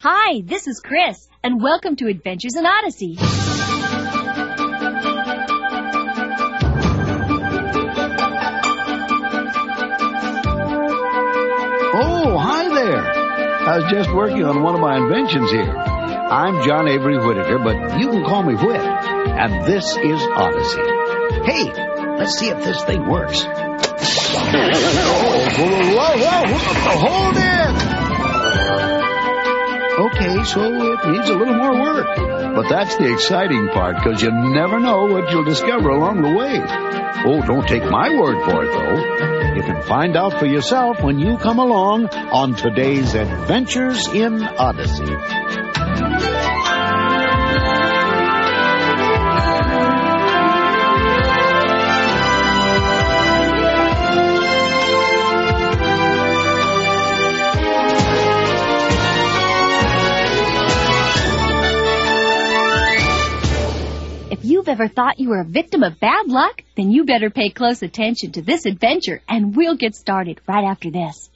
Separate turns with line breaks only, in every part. Hi, this is Chris, and welcome to Adventures in Odyssey.
Oh, hi there. I was just working on one of my inventions here. I'm John Avery Whittaker, but you can call me Whit. And this is Odyssey. Hey, let's see if this thing works. Oh, whoa, whoa, whoa, whoa, hold it! Okay, so it needs a little more work. But that's the exciting part, because you never know what you'll discover along the way. Oh, don't take my word for it, though. You can find out for yourself when you come along on today's Adventures in Odyssey.
If you've ever thought you were a victim of bad luck, then you better pay close attention to this adventure, and we'll get started right after this.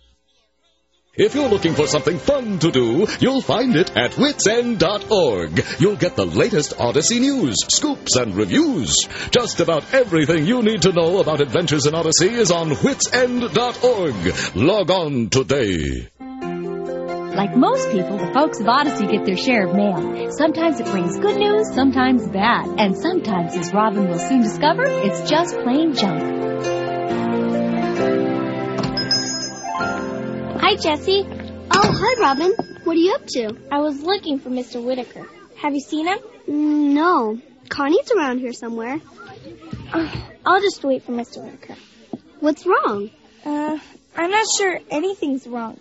If you're looking for something fun to do, you'll find it at witsend.org. You'll get the latest Odyssey news, scoops, and reviews. Just about everything you need to know about Adventures in Odyssey is on witsend.org. Log on today.
Like most people, the folks of Odyssey get their share of mail. Sometimes it brings good news, sometimes bad, and sometimes, as Robin will soon discover, it's just plain junk. Hi, Jesse.
Oh, hi, Robin. What are you up to?
I was looking for Mr. Whitaker. Have you seen him?
Mm, No. Connie's around here somewhere.
I'll just wait for Mr. Whitaker.
What's wrong?
Uh, I'm not sure anything's wrong.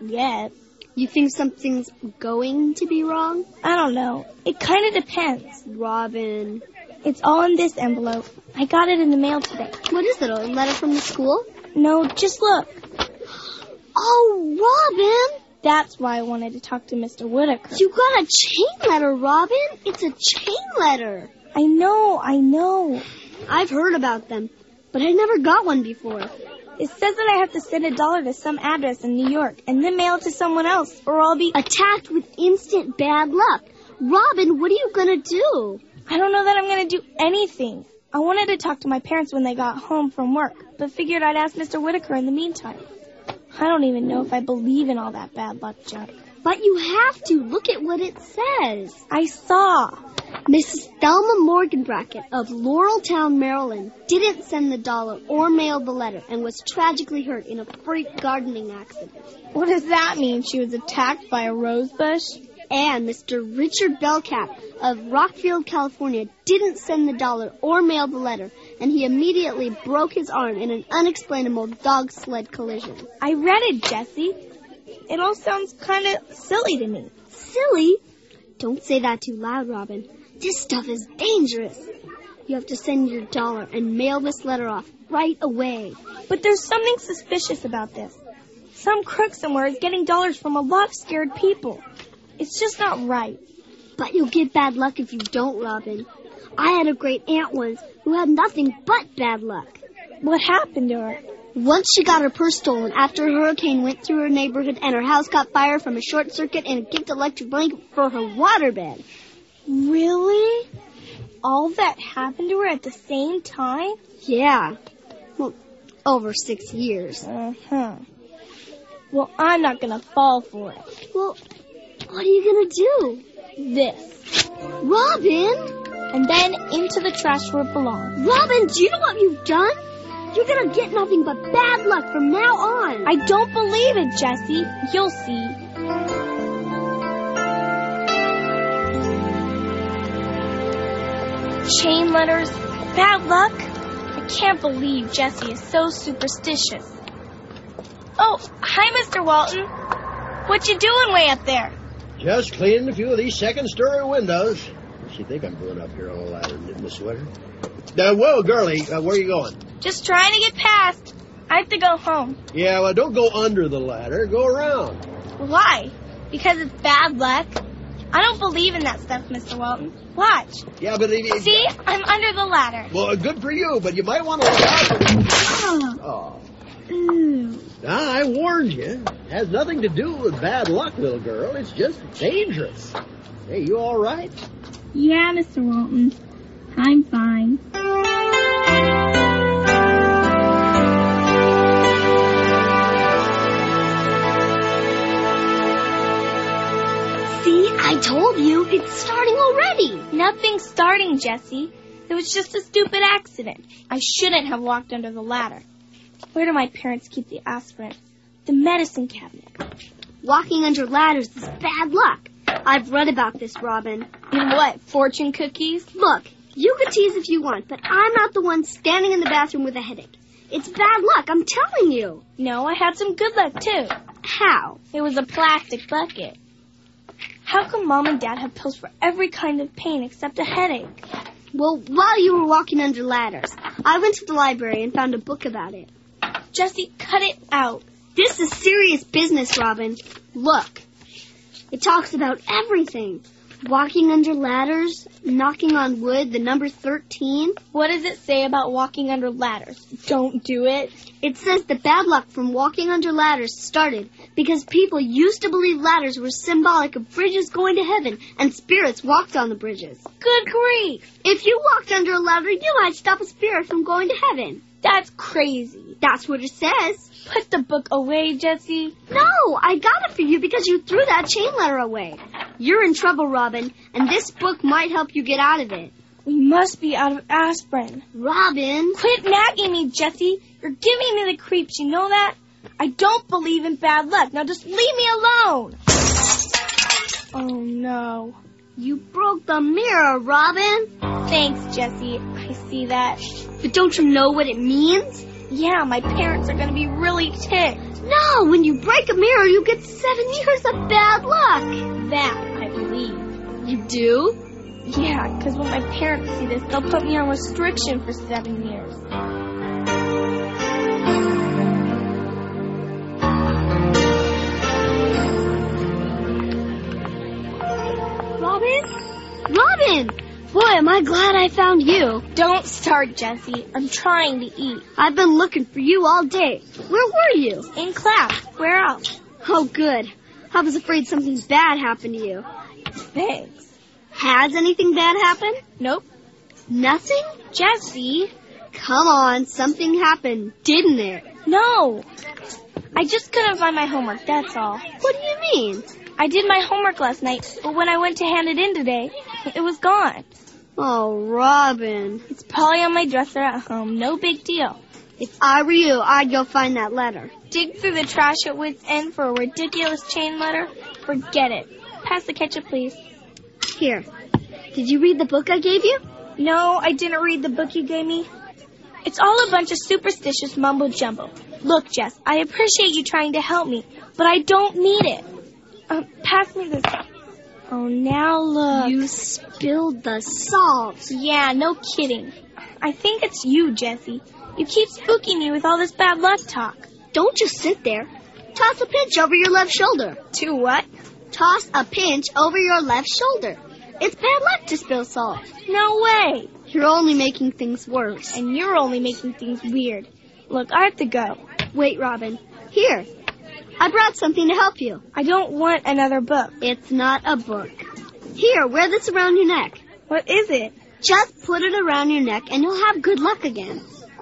Yet.
You think something's going to be wrong?
I don't know. It kind of depends.
Robin.
It's all in this envelope. I got it in the mail today.
What is it, a letter from the school?
No, just look.
Oh, Robin!
That's why I wanted to talk to Mr. Whitaker.
You got a chain letter, Robin! It's a chain letter!
I know, I know.
I've heard about them, but I never got one before.
It says that I have to send a dollar to some address in New York and then mail it to someone else or I'll be.
Attacked with instant bad luck. Robin, what are you gonna do?
I don't know that I'm going to do anything. I wanted to talk to my parents when they got home from work, but figured I'd ask Mr. Whitaker in the meantime. I don't even know if I believe in all that bad luck junk.
But you have to. Look at what it says.
I saw.
Mrs. Thelma Morganbracket of Laureltown, Maryland, didn't send the dollar or mail the letter and was tragically hurt in a freak gardening accident.
What does that mean? She was attacked by a rose bush?
And Mr. Richard Bellcap of Rockfield, California, didn't send the dollar or mail the letter, and he immediately broke his arm in an unexplainable dog sled collision.
I read it, Jesse. It all sounds kind of silly to me.
Silly! Don't say that too loud, Robin. This stuff is dangerous. You have to send your dollar and mail this letter off right away.
But there's something suspicious about this. Some crook somewhere is getting dollars from a lot of scared people. It's just not right.
But you'll get bad luck if you don't, Robin. I had a great aunt once who had nothing but bad luck.
What happened to her?
Once she got her purse stolen after a hurricane went through her neighborhood and her house caught fire from a short circuit and a gift electric blanket for her waterbed.
Really? All that happened to her at the same time?
Yeah. Well, over six years.
Uh huh. Well, I'm not gonna fall for it.
Well, what are you gonna
This.
do? Robin!
And then into the trash where it belongs.
Robin, do you know what you've done? You're gonna get nothing but bad luck from now on.
I don't believe it, Jesse. You'll see. Chain letters, bad luck. I can't believe Jesse is so superstitious. Oh, hi, Mr. Walton. What you doing way up there?
Just cleaning a few of these second story windows. What you think I'm doing up here all out knitting a sweater? Now, whoa, girlie, uh, where are you going?
Just trying to get past. I have to go home.
Yeah, well, don't go under the ladder. Go around.
Why? Because it's bad luck. I don't believe in that stuff, Mr. Walton. Watch.
Yeah, but it, it-
See? I'm under the ladder.
well, good for you, but you might want to look out. For...
Oh.
Oh,
Ooh.
Now, I warned you. It has nothing to do with bad luck, little girl. It's just dangerous. Hey, you all right?
Yeah, Mr. Walton. I'm fine.
See, I told you, it's starting already.
Nothing's starting, Jesse. It was just a stupid accident. I shouldn't have walked under the ladder. Where do my parents keep the aspirin? The medicine cabinet.
Walking under ladders is bad luck. I've read about this, Robin.
And what? Fortune cookies?
Look, you can tease if you want, but I'm not the one standing in the bathroom with a headache. It's bad luck, I'm telling you.
No, I had some good luck too.
How?
It was a plastic bucket. How come mom and dad have pills for every kind of pain except a headache?
Well, while you were walking under ladders, I went to the library and found a book about it. Oh,
Jesse, cut it out.
This is serious business, Robin. Look. It talks about everything. Walking under ladders, knocking on wood, the number 13.
What does it say about walking under ladders? Don't do it.
It says the bad luck from walking under ladders started because people used to believe ladders were symbolic of bridges going to heaven and spirits walked on the bridges.
Good grief.
If you walked under a ladder, you might stop a spirit from going to heaven.
That's crazy.
That's what it says.
Put the book away, Jesse.
No, I got it for you because you threw that chain letter away. You're in trouble, Robin, and this book might help you get out of it.
We must be out of aspirin.
Robin,
Quit nagging me, Jesse. You're giving me the creeps, you know that? I don't believe in bad luck. Now just leave me alone. Oh no.
you broke the mirror, Robin.
Thanks, Jesse. I see that.
But don't you know what it means?
Yeah, my parents are gonna be really ticked.
No, when you break a mirror, you get seven years of bad luck.
That, I believe.
You do?
Yeah, 'cause when my parents see this, they'll put me on restriction for seven years.
Robin? Robin! Boy, am I glad I found you.
Don't start, Jesse. I'm trying to eat.
I've been looking for you all day. Where were you?
In class, where else?
Oh, good. I was afraid something bad happened to you.
Thanks.
Has anything bad happened?
Nope.
Nothing?
Jesse?
Come on, something happened, didn't it?
No. I just couldn't find my homework, that's all.
What do you mean?
I did my homework last night, but when I went to hand it in today, it was gone.
Oh, Robin.
It's probably on my dresser at home. No big deal.
If I were you, I'd go find that letter.
Dig through the trash at wit's end for a ridiculous chain letter? Forget it. Pass the ketchup, please.
Here. Did you read the book I gave you?
No, I didn't read the book you gave me. It's all a bunch of superstitious mumbo jumbo. Look, Jess, I appreciate you trying to help me, but I don't need it. Um, pass me this. Oh, now look.
You spilled the salt.
Yeah, no kidding. I think it's you, Jesse. You keep spooking me with all this bad luck talk.
Don't just sit there. Toss a pinch over your left shoulder.
To what?
Toss a pinch over your left shoulder. It's bad luck to spill salt.
No way.
You're only making things worse.
And you're only making things weird. Look, I have to go.
Wait, Robin. Here. I brought something to help you.
I don't want another book.
It's not a book. Here, wear this around your neck.
What is it?
Just put it around your neck and you'll have good luck again.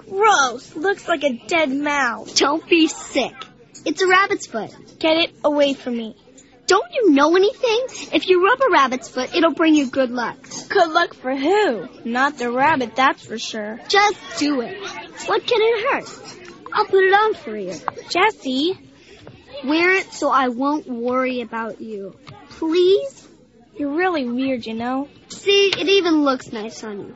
Gross. Looks like a dead mouse.
Don't be sick. It's a rabbit's foot.
Get it away from me.
Don't you know anything? If you rub a rabbit's foot, it'll bring you good luck.
Good luck for who? Not the rabbit, that's for sure.
Just do it. What can it hurt? I'll put it on for you.
Jesse,
Wear it so I won't worry about you. Please?
you're really weird, you know.
See, it even looks nice on you.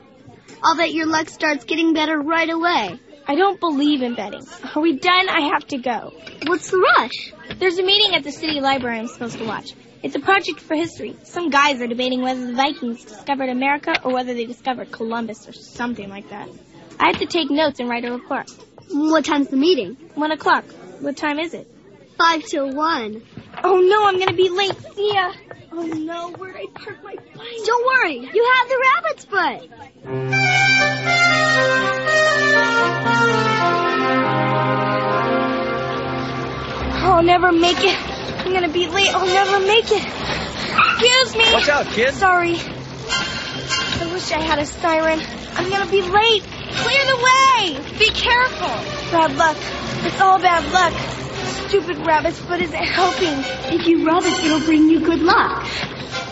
I'll bet your luck starts getting better right away.
I don't believe in betting. Are we done? I have to go.
What's the rush?
There's a meeting at the city library I'm supposed to watch. It's a project for history. Some guys are debating whether the Vikings discovered America or whether they discovered Columbus or something like that. I have to take notes and write a report.
What time's the meeting?
One o'clock. What time is it?
Five till one.
Oh no, I'm gonna be late. See ya. Oh no, where'd I park my bike?
Don't worry, you have the rabbit's foot.
Oh, I'll never make it. I'm gonna be late. I'll never make it. Excuse me.
Watch out, kid.
Sorry. I wish I had a siren. I'm gonna be late. Clear the way. Be careful. Bad luck. It's all bad luck. Stupid rabbit's foot isn't helping.
If you rub it, it'll bring you good luck.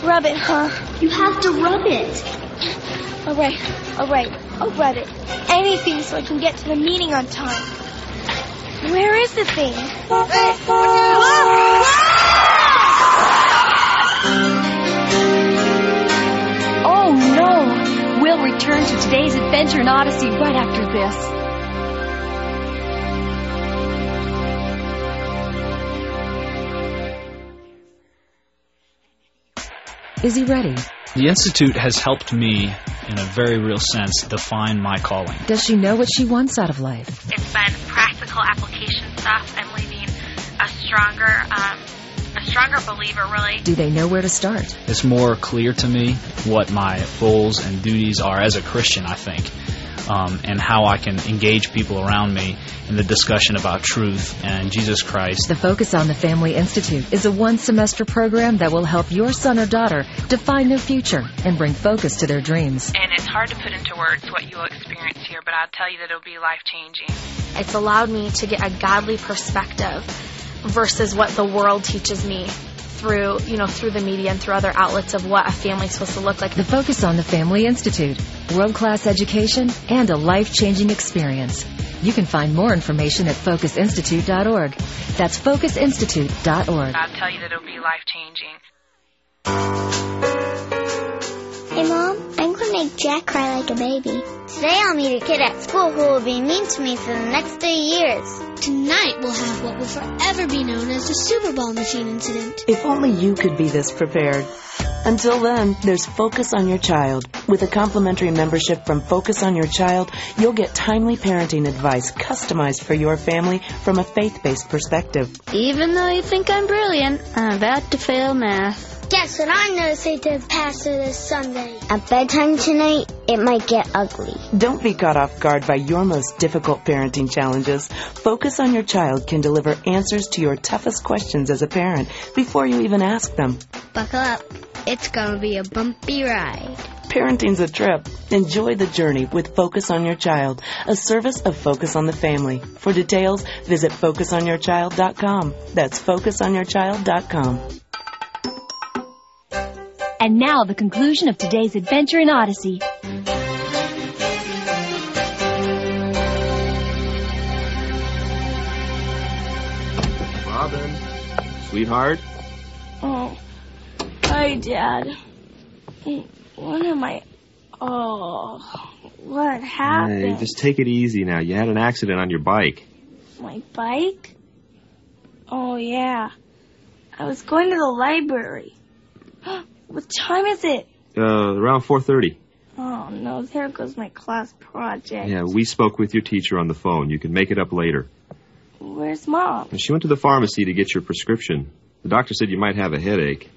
Rub it, huh?
You have to rub it.
All right, all right. I'll rub it. Anything so I can get to the meeting on time. Where is the thing? Ah! Whoa!
Oh no! We'll return to today's adventure in Odyssey right after this.
Is he ready?
The Institute has helped me, in a very real sense, define my calling.
Does she know what she wants out of life?
It's been practical application stuff. I'm leaving a stronger, um, a stronger believer, really.
Do they know where to start?
It's more clear to me what my roles and duties are as a Christian, I think, um, and how I can engage people around me in the discussion about truth and Jesus Christ.
The Focus on the Family Institute is a one semester program that will help your son or daughter define their future and bring focus to their dreams.
And it's hard to put into words what you'll experience here, but I'll tell you that it'll be life changing.
It's allowed me to get a godly perspective versus what the world teaches me through, you know, through the media and through other outlets of what a family's supposed to look like.
The Focus on the Family Institute, world class education and a life changing experience. You can find more information at focusinstitute.org. That's focusinstitute.org.
I'll tell you that it'll be life changing.
Hey, Mom, I'm going to make Jack cry like a baby. Today I'll meet a kid at school who will be mean to me for the next three years.
Tonight we'll have what will forever be known as the Super Bowl machine incident.
If only you could be this prepared. Until then, there's Focus on Your Child. With a complimentary membership from Focus on Your Child, you'll get timely parenting advice customized for your family from a faith-based perspective.
Even though you think I'm brilliant, I'm about to fail math.
Guess what I'm going to say to the pastor this Sunday? At bedtime tonight, it might get ugly.
Don't be caught off guard by your most difficult parenting challenges. Focus on Your Child can deliver answers to your toughest questions as a parent before you even ask them.
Buckle up. It's going to be a bumpy ride.
Parenting's a trip. Enjoy the journey with Focus on Your Child, a service of Focus on the Family. For details, visit focusonyourchild.com. That's focusonyourchild.com.
And now the conclusion of today's adventure in Odyssey.
Robin, sweetheart.
Oh. Hi, Dad. What am I? Oh, what
Hey,
happened?
just take it easy now. You had an accident on your bike.
My bike? Oh, yeah. I was going to the library. what time is it?
Uh, around 4:30.
Oh, no, there goes my class project.
Yeah, we spoke with your teacher on the phone. You can make it up later.
Where's Mom?
And She went to the pharmacy to get your prescription. The doctor said you might have a headache.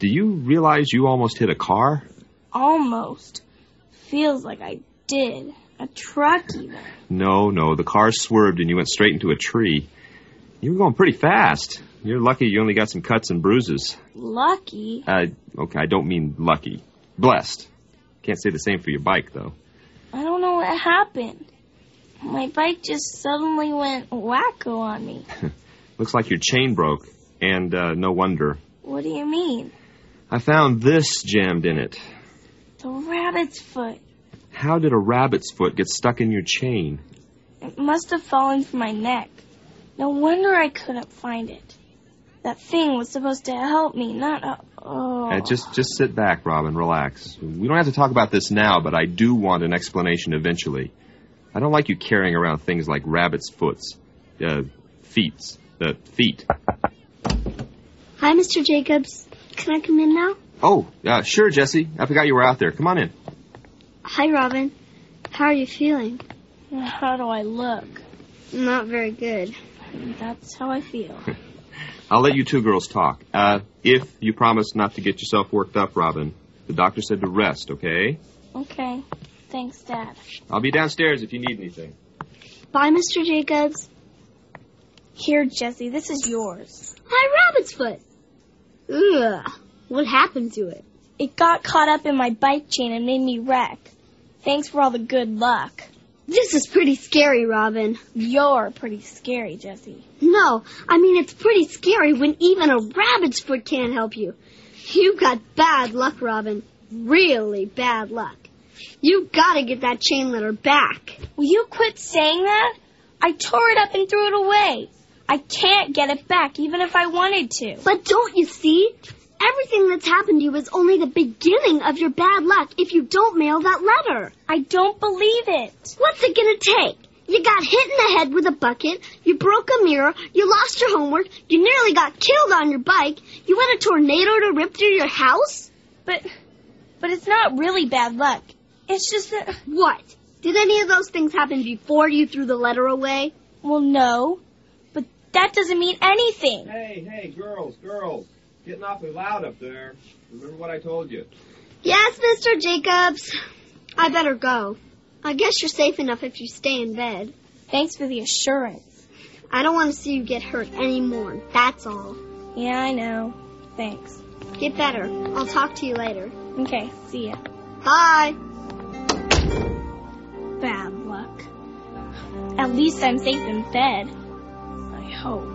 Do you realize you almost hit a car?
Almost. Feels like I did. A truck, even.
No, no. The car swerved and you went straight into a tree. You were going pretty fast. You're lucky you only got some cuts and bruises.
Lucky.
Uh, okay, I don't mean lucky. Blessed. Can't say the same for your bike, though.
I don't know what happened. My bike just suddenly went wacko on me.
Looks like your chain broke. And, uh, no wonder.
What do you mean?
I found this jammed in it.
The rabbit's foot.
How did a rabbit's foot get stuck in your chain?
It must have fallen from my neck. No wonder I couldn't find it. That thing was supposed to help me, not a. Oh.
Uh, just, just sit back, Robin. Relax. We don't have to talk about this now, but I do want an explanation eventually. I don't like you carrying around things like rabbit's foots, uh, feet, uh, feet.
Hi, Mr. Jacobs. Can I come in now?
Oh, uh, sure, Jesse. I forgot you were out there. Come on in.
Hi, Robin. How are you feeling?
How do I look?
Not very good.
That's how I feel.
I'll let you two girls talk. Uh, if you promise not to get yourself worked up, Robin. The doctor said to rest, okay?
Okay. Thanks, Dad.
I'll be downstairs if you need anything.
Bye, Mr. Jacobs.
Here, Jesse, this is yours.
My rabbit's foot. Ugh. What happened to it?
It got caught up in my bike chain and made me wreck. Thanks for all the good luck.
This is pretty scary, Robin.
You're pretty scary, Jesse.
No, I mean it's pretty scary when even a rabbit's foot can't help you. You got bad luck, Robin. Really bad luck. You gotta get that chain letter back.
Will you quit saying that? I tore it up and threw it away. I can't get it back, even if I wanted to.
But don't you see? Everything that's happened to you is only the beginning of your bad luck if you don't mail that letter.
I don't believe it.
What's it gonna take? You got hit in the head with a bucket, you broke a mirror, you lost your homework, you nearly got killed on your bike, you had a tornado to rip through your house?
But, but it's not really bad luck. It's just that.
What? Did any of those things happen before you threw the letter away?
Well, no. But that doesn't mean anything.
Hey, hey, girls, girls. Getting awfully loud up there. Remember what I told you.
Yes, Mr. Jacobs. I better go. I guess you're safe enough if you stay in bed.
Thanks for the assurance.
I don't want to see you get hurt anymore. That's all.
Yeah, I know. Thanks.
Get better. I'll talk to you later.
Okay, see ya.
Bye.
Bad luck. At least I'm safe in bed. I hope.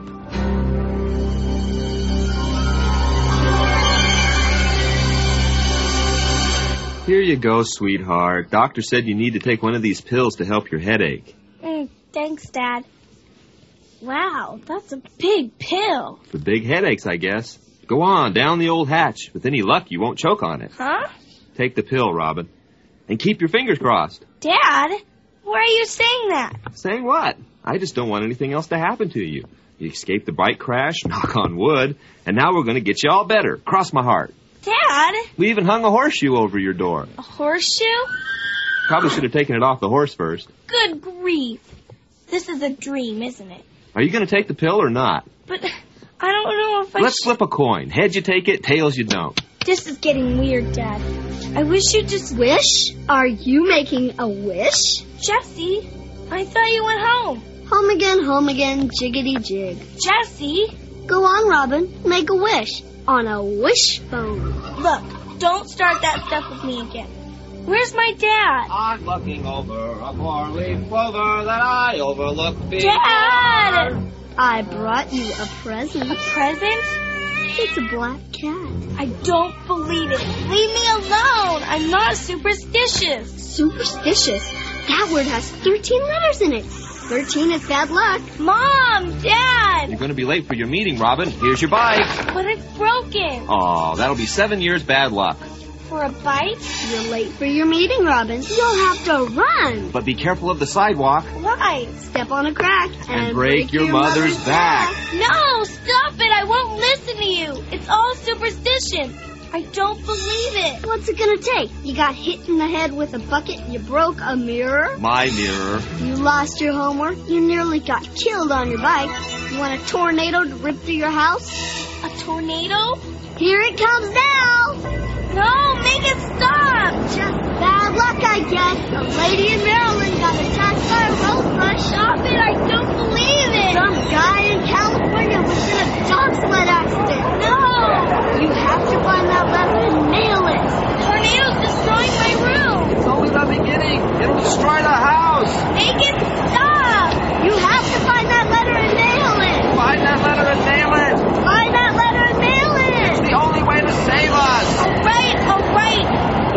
Here you go, sweetheart. Doctor said you need to take one of these pills to help your headache.
Mm, thanks, Dad. Wow, that's a big pill.
For big headaches, I guess. Go on, down the old hatch. With any luck, you won't choke on it.
Huh?
Take the pill, Robin. And keep your fingers crossed.
Dad, why are you saying that?
Saying what? I just don't want anything else to happen to you. You escaped the bike crash, knock on wood, and now we're going to get you all better. Cross my heart.
Dad,
We even hung a horseshoe over your door.
a horseshoe?
Probably should have taken it off the horse first.
Good grief. This is a dream, isn't it?
Are you going to take the pill or not?
But I don't know if I
Let's
sh-
flip a coin. Heads you take it, tails you don't.
This is getting weird, Dad. I wish you'd just
Wish? Are you making a wish?
Jesse, I thought you went home.
Home again, home again, jiggity jig.
Jesse,
Go on, Robin. Make a wish. On a wishbone.
look, don't start that stuff with me again. Where's my dad?
I'm looking over a four-leaf clover that I overlooked
Dad!
I brought you a present.
A present?
It's a black cat.
I don't believe it. Leave me alone. I'm not superstitious.
Superstitious. That word has 13 letters in it. 13 is bad luck.
Mom, Dad,
You're going to be late for your meeting, Robin. Here's your bike.
but it's broken.
Oh, that'll be seven years bad luck.
For a bite?
You're late for your meeting, Robin. You'll have to run.
But be careful of the sidewalk.
Why?
Step on a crack and,
And break your mother's back.
No, stop it. I won't listen to you. It's all superstition. I don't believe it.
What's it gonna take? You got hit in the head with a bucket, you broke a mirror,
My mirror.
you lost your homework, you nearly got killed on your bike, you want a tornado to rip through your house?
A tornado?
Here it comes now!
No, make it stop.
Just bad luck, I guess. A lady in Maryland got attacked by a roadrush.
Stop it. I don't believe it.
Some guy in California was in a dog sled accident.
No.
You have to find that letter and nail it.
Tornado's destroying my room.
It's only the beginning. It'll destroy the house.
Make it stop.
You have to find that letter and nail it.
Find that letter and nail it.
Find that letter and nail it.
It's the only way to save us.
All right, all right.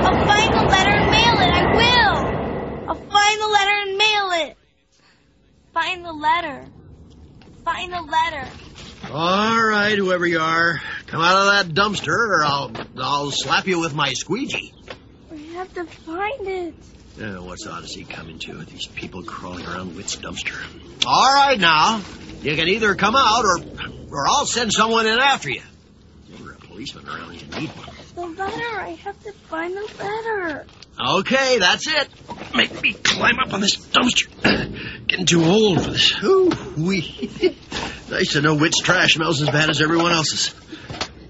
I'll find the letter and mail it. I will. I'll find the letter and mail it. Find the letter. Find the letter.
All right, whoever you are, come out of that dumpster, or I'll I'll slap you with my squeegee.
We have to find it.
Oh, what's Odyssey coming to? These people crawling around Wit's dumpster. All right, now you can either come out, or or I'll send someone in after you. Never a policeman around if you need one.
The letter. I have to find the letter.
Okay, that's it. Make me climb up on this dumpster. Getting too old for this. Ooh, wee. nice to know which trash smells as bad as everyone else's.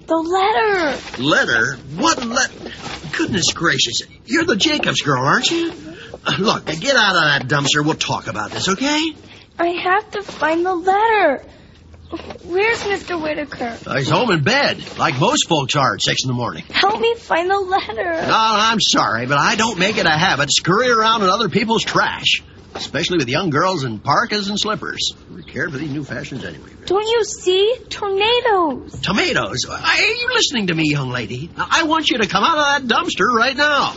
The letter.
Letter? What letter? Goodness gracious. You're the Jacobs girl, aren't you? Uh, Look, get out of that dumpster. We'll talk about this, okay?
I have to find the letter. Where's Mr. Whitaker?
Uh, he's home in bed, like most folks are at six in the morning.
Help me find the letter.
Oh, I'm sorry, but I don't make it a habit to scurry around in other people's trash, especially with young girls in parkas and slippers. Who care for these new fashions anyway?
Don't you see? Tornadoes.
Tomatoes. I, are you listening to me, young lady? Now, I want you to come out of that dumpster right now.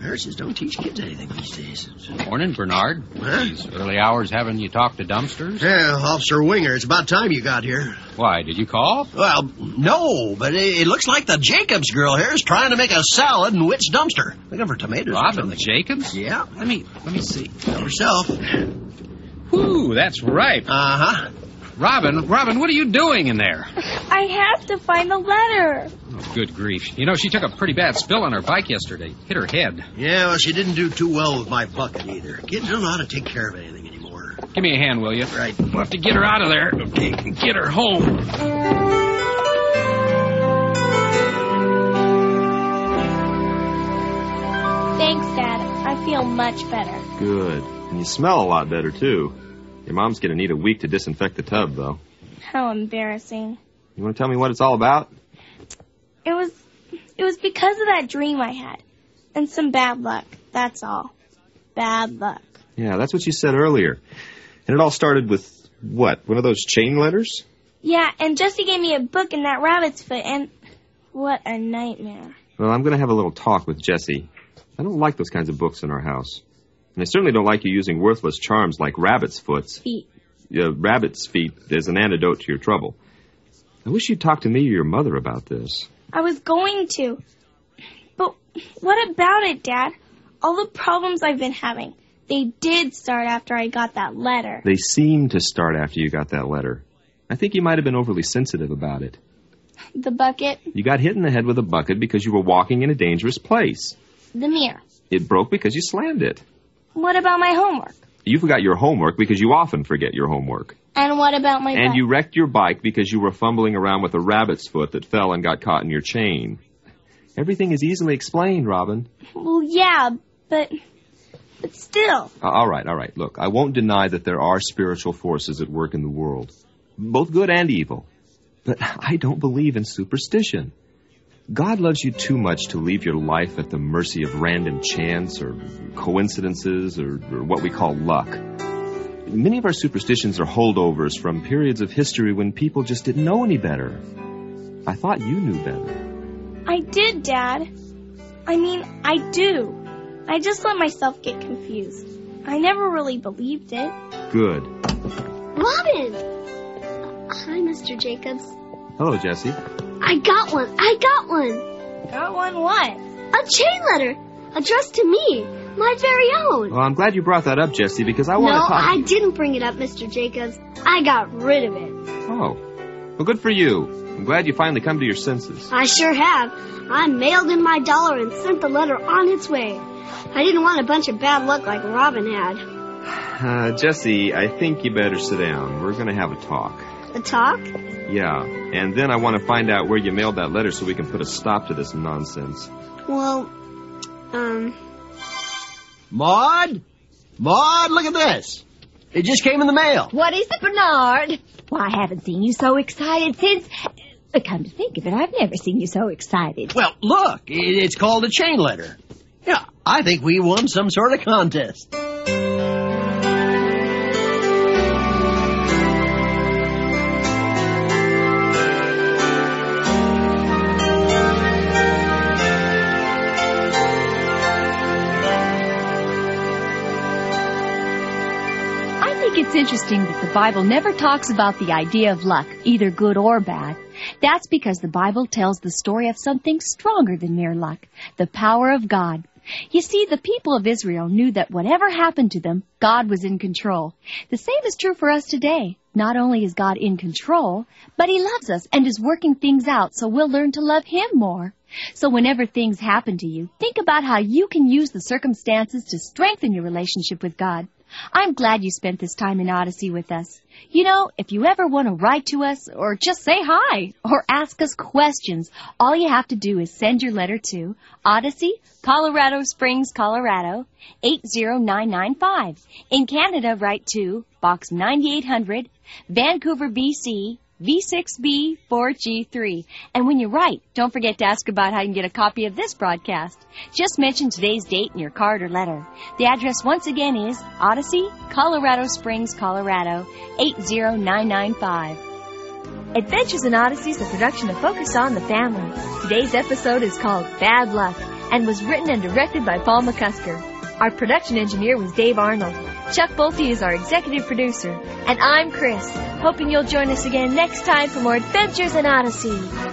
Nurses don't teach kids anything these days.
Morning, Bernard. These early hours haven't you talked to dumpsters?
Yeah, Officer Winger, it's about time you got here.
Why, did you call?
Well, no, but it, it looks like the Jacobs girl here is trying to make a salad in Witt's dumpster. Looking for tomatoes. or
Robin
something.
Jacobs?
Yeah.
Let me let me see.
Tell herself.
Whew, that's ripe.
Uh huh.
Robin, Robin, what are you doing in there?
I have to find the letter.
Good grief. You know, she took a pretty bad spill on her bike yesterday. Hit her head.
Yeah, well, she didn't do too well with my bucket either. Kids don't know how to take care of anything anymore.
Give me a hand, will you?
Right.
We'll have to get her out of there. Okay, get her home.
Thanks, Dad. I feel much better.
Good. And you smell a lot better, too. Your mom's going to need a week to disinfect the tub, though.
How embarrassing.
You want to tell me what it's all about?
It was it was because of that dream I had. And some bad luck, that's all. Bad luck.
Yeah, that's what you said earlier. And it all started with what? One of those chain letters?
Yeah, and Jesse gave me a book in that rabbit's foot and what a nightmare.
Well, I'm going to have a little talk with Jesse. I don't like those kinds of books in our house. And I certainly don't like you using worthless charms like rabbit's foots.
Feet.
Uh, rabbit's feet is an antidote to your trouble. I wish you'd talk to me or your mother about this.
I was going to. But what about it, Dad? All the problems I've been having. They did start after I got that letter.
They seemed to start after you got that letter. I think you might have been overly sensitive about it.
The bucket,
You got hit in the head with a bucket because you were walking in a dangerous place.
the mirror.
It broke because you slammed it.
What about my homework?
You forgot your homework because you often forget your homework.
And what about my
and
butt?
you wrecked your bike because you were fumbling around with a rabbit's foot that fell and got caught in your chain. Everything is easily explained, Robin.
Well, yeah, but but still.
Uh, all right, all right. Look, I won't deny that there are spiritual forces at work in the world, both good and evil. But I don't believe in superstition. God loves you too much to leave your life at the mercy of random chance or coincidences or, or what we call luck. Many of our superstitions are holdovers from periods of history when people just didn't know any better. I thought you knew better.
I did, Dad. I mean, I do. I just let myself get confused. I never really believed it.
Good.
Robin! Hi, Mr. Jacobs.
Hello, Jesse.
I got one. I got one.
Got one what?
A chain letter addressed to me, my very own.
Well, I'm glad you brought that up, Jesse, because I want
no,
to talk.
I didn't bring it up, Mr. Jacobs. I got rid of it.
Oh. Well, good for you. I'm glad you finally come to your senses.
I sure have. I mailed in my dollar and sent the letter on its way. I didn't want a bunch of bad luck like Robin had.
Uh, Jesse, I think you better sit down. We're going to have a talk.
A talk?
Yeah, and then I want to find out where you mailed that letter so we can put a stop to this nonsense.
Well, um,
Maud? Maud, look at this. It just came in the mail.
What is it, Bernard? Why, I haven't seen you so excited since. uh, Come to think of it, I've never seen you so excited.
Well, look, it, it's called a chain letter. Yeah, I think we won some sort of contest.
I think it's interesting that the Bible never talks about the idea of luck, either good or bad. That's because the Bible tells the story of something stronger than mere luck, the power of God. You see, the people of Israel knew that whatever happened to them, God was in control. The same is true for us today. Not only is God in control, but He loves us and is working things out so we'll learn to love Him more. So whenever things happen to you, think about how you can use the circumstances to strengthen your relationship with God. I'm glad you spent this time in Odyssey with us. You know, if you ever want to write to us or just say hi or ask us questions, all you have to do is send your letter to Odyssey, Colorado Springs, Colorado 80995. In Canada, write to Box 9800, Vancouver, BC V6B4G3. And when you write, don't forget to ask about how you can get a copy of this broadcast. Just mention today's date in your card or letter. The address once again is Odyssey, Colorado Springs, Colorado 80995.
Adventures in Odyssey is a production of Focus on the Family. Today's episode is called Bad Luck and was written and directed by Paul McCusker. Our production engineer was Dave Arnold. Chuck Bolte is our executive producer. And I'm Chris, hoping you'll join us again next time for more Adventures in Odyssey.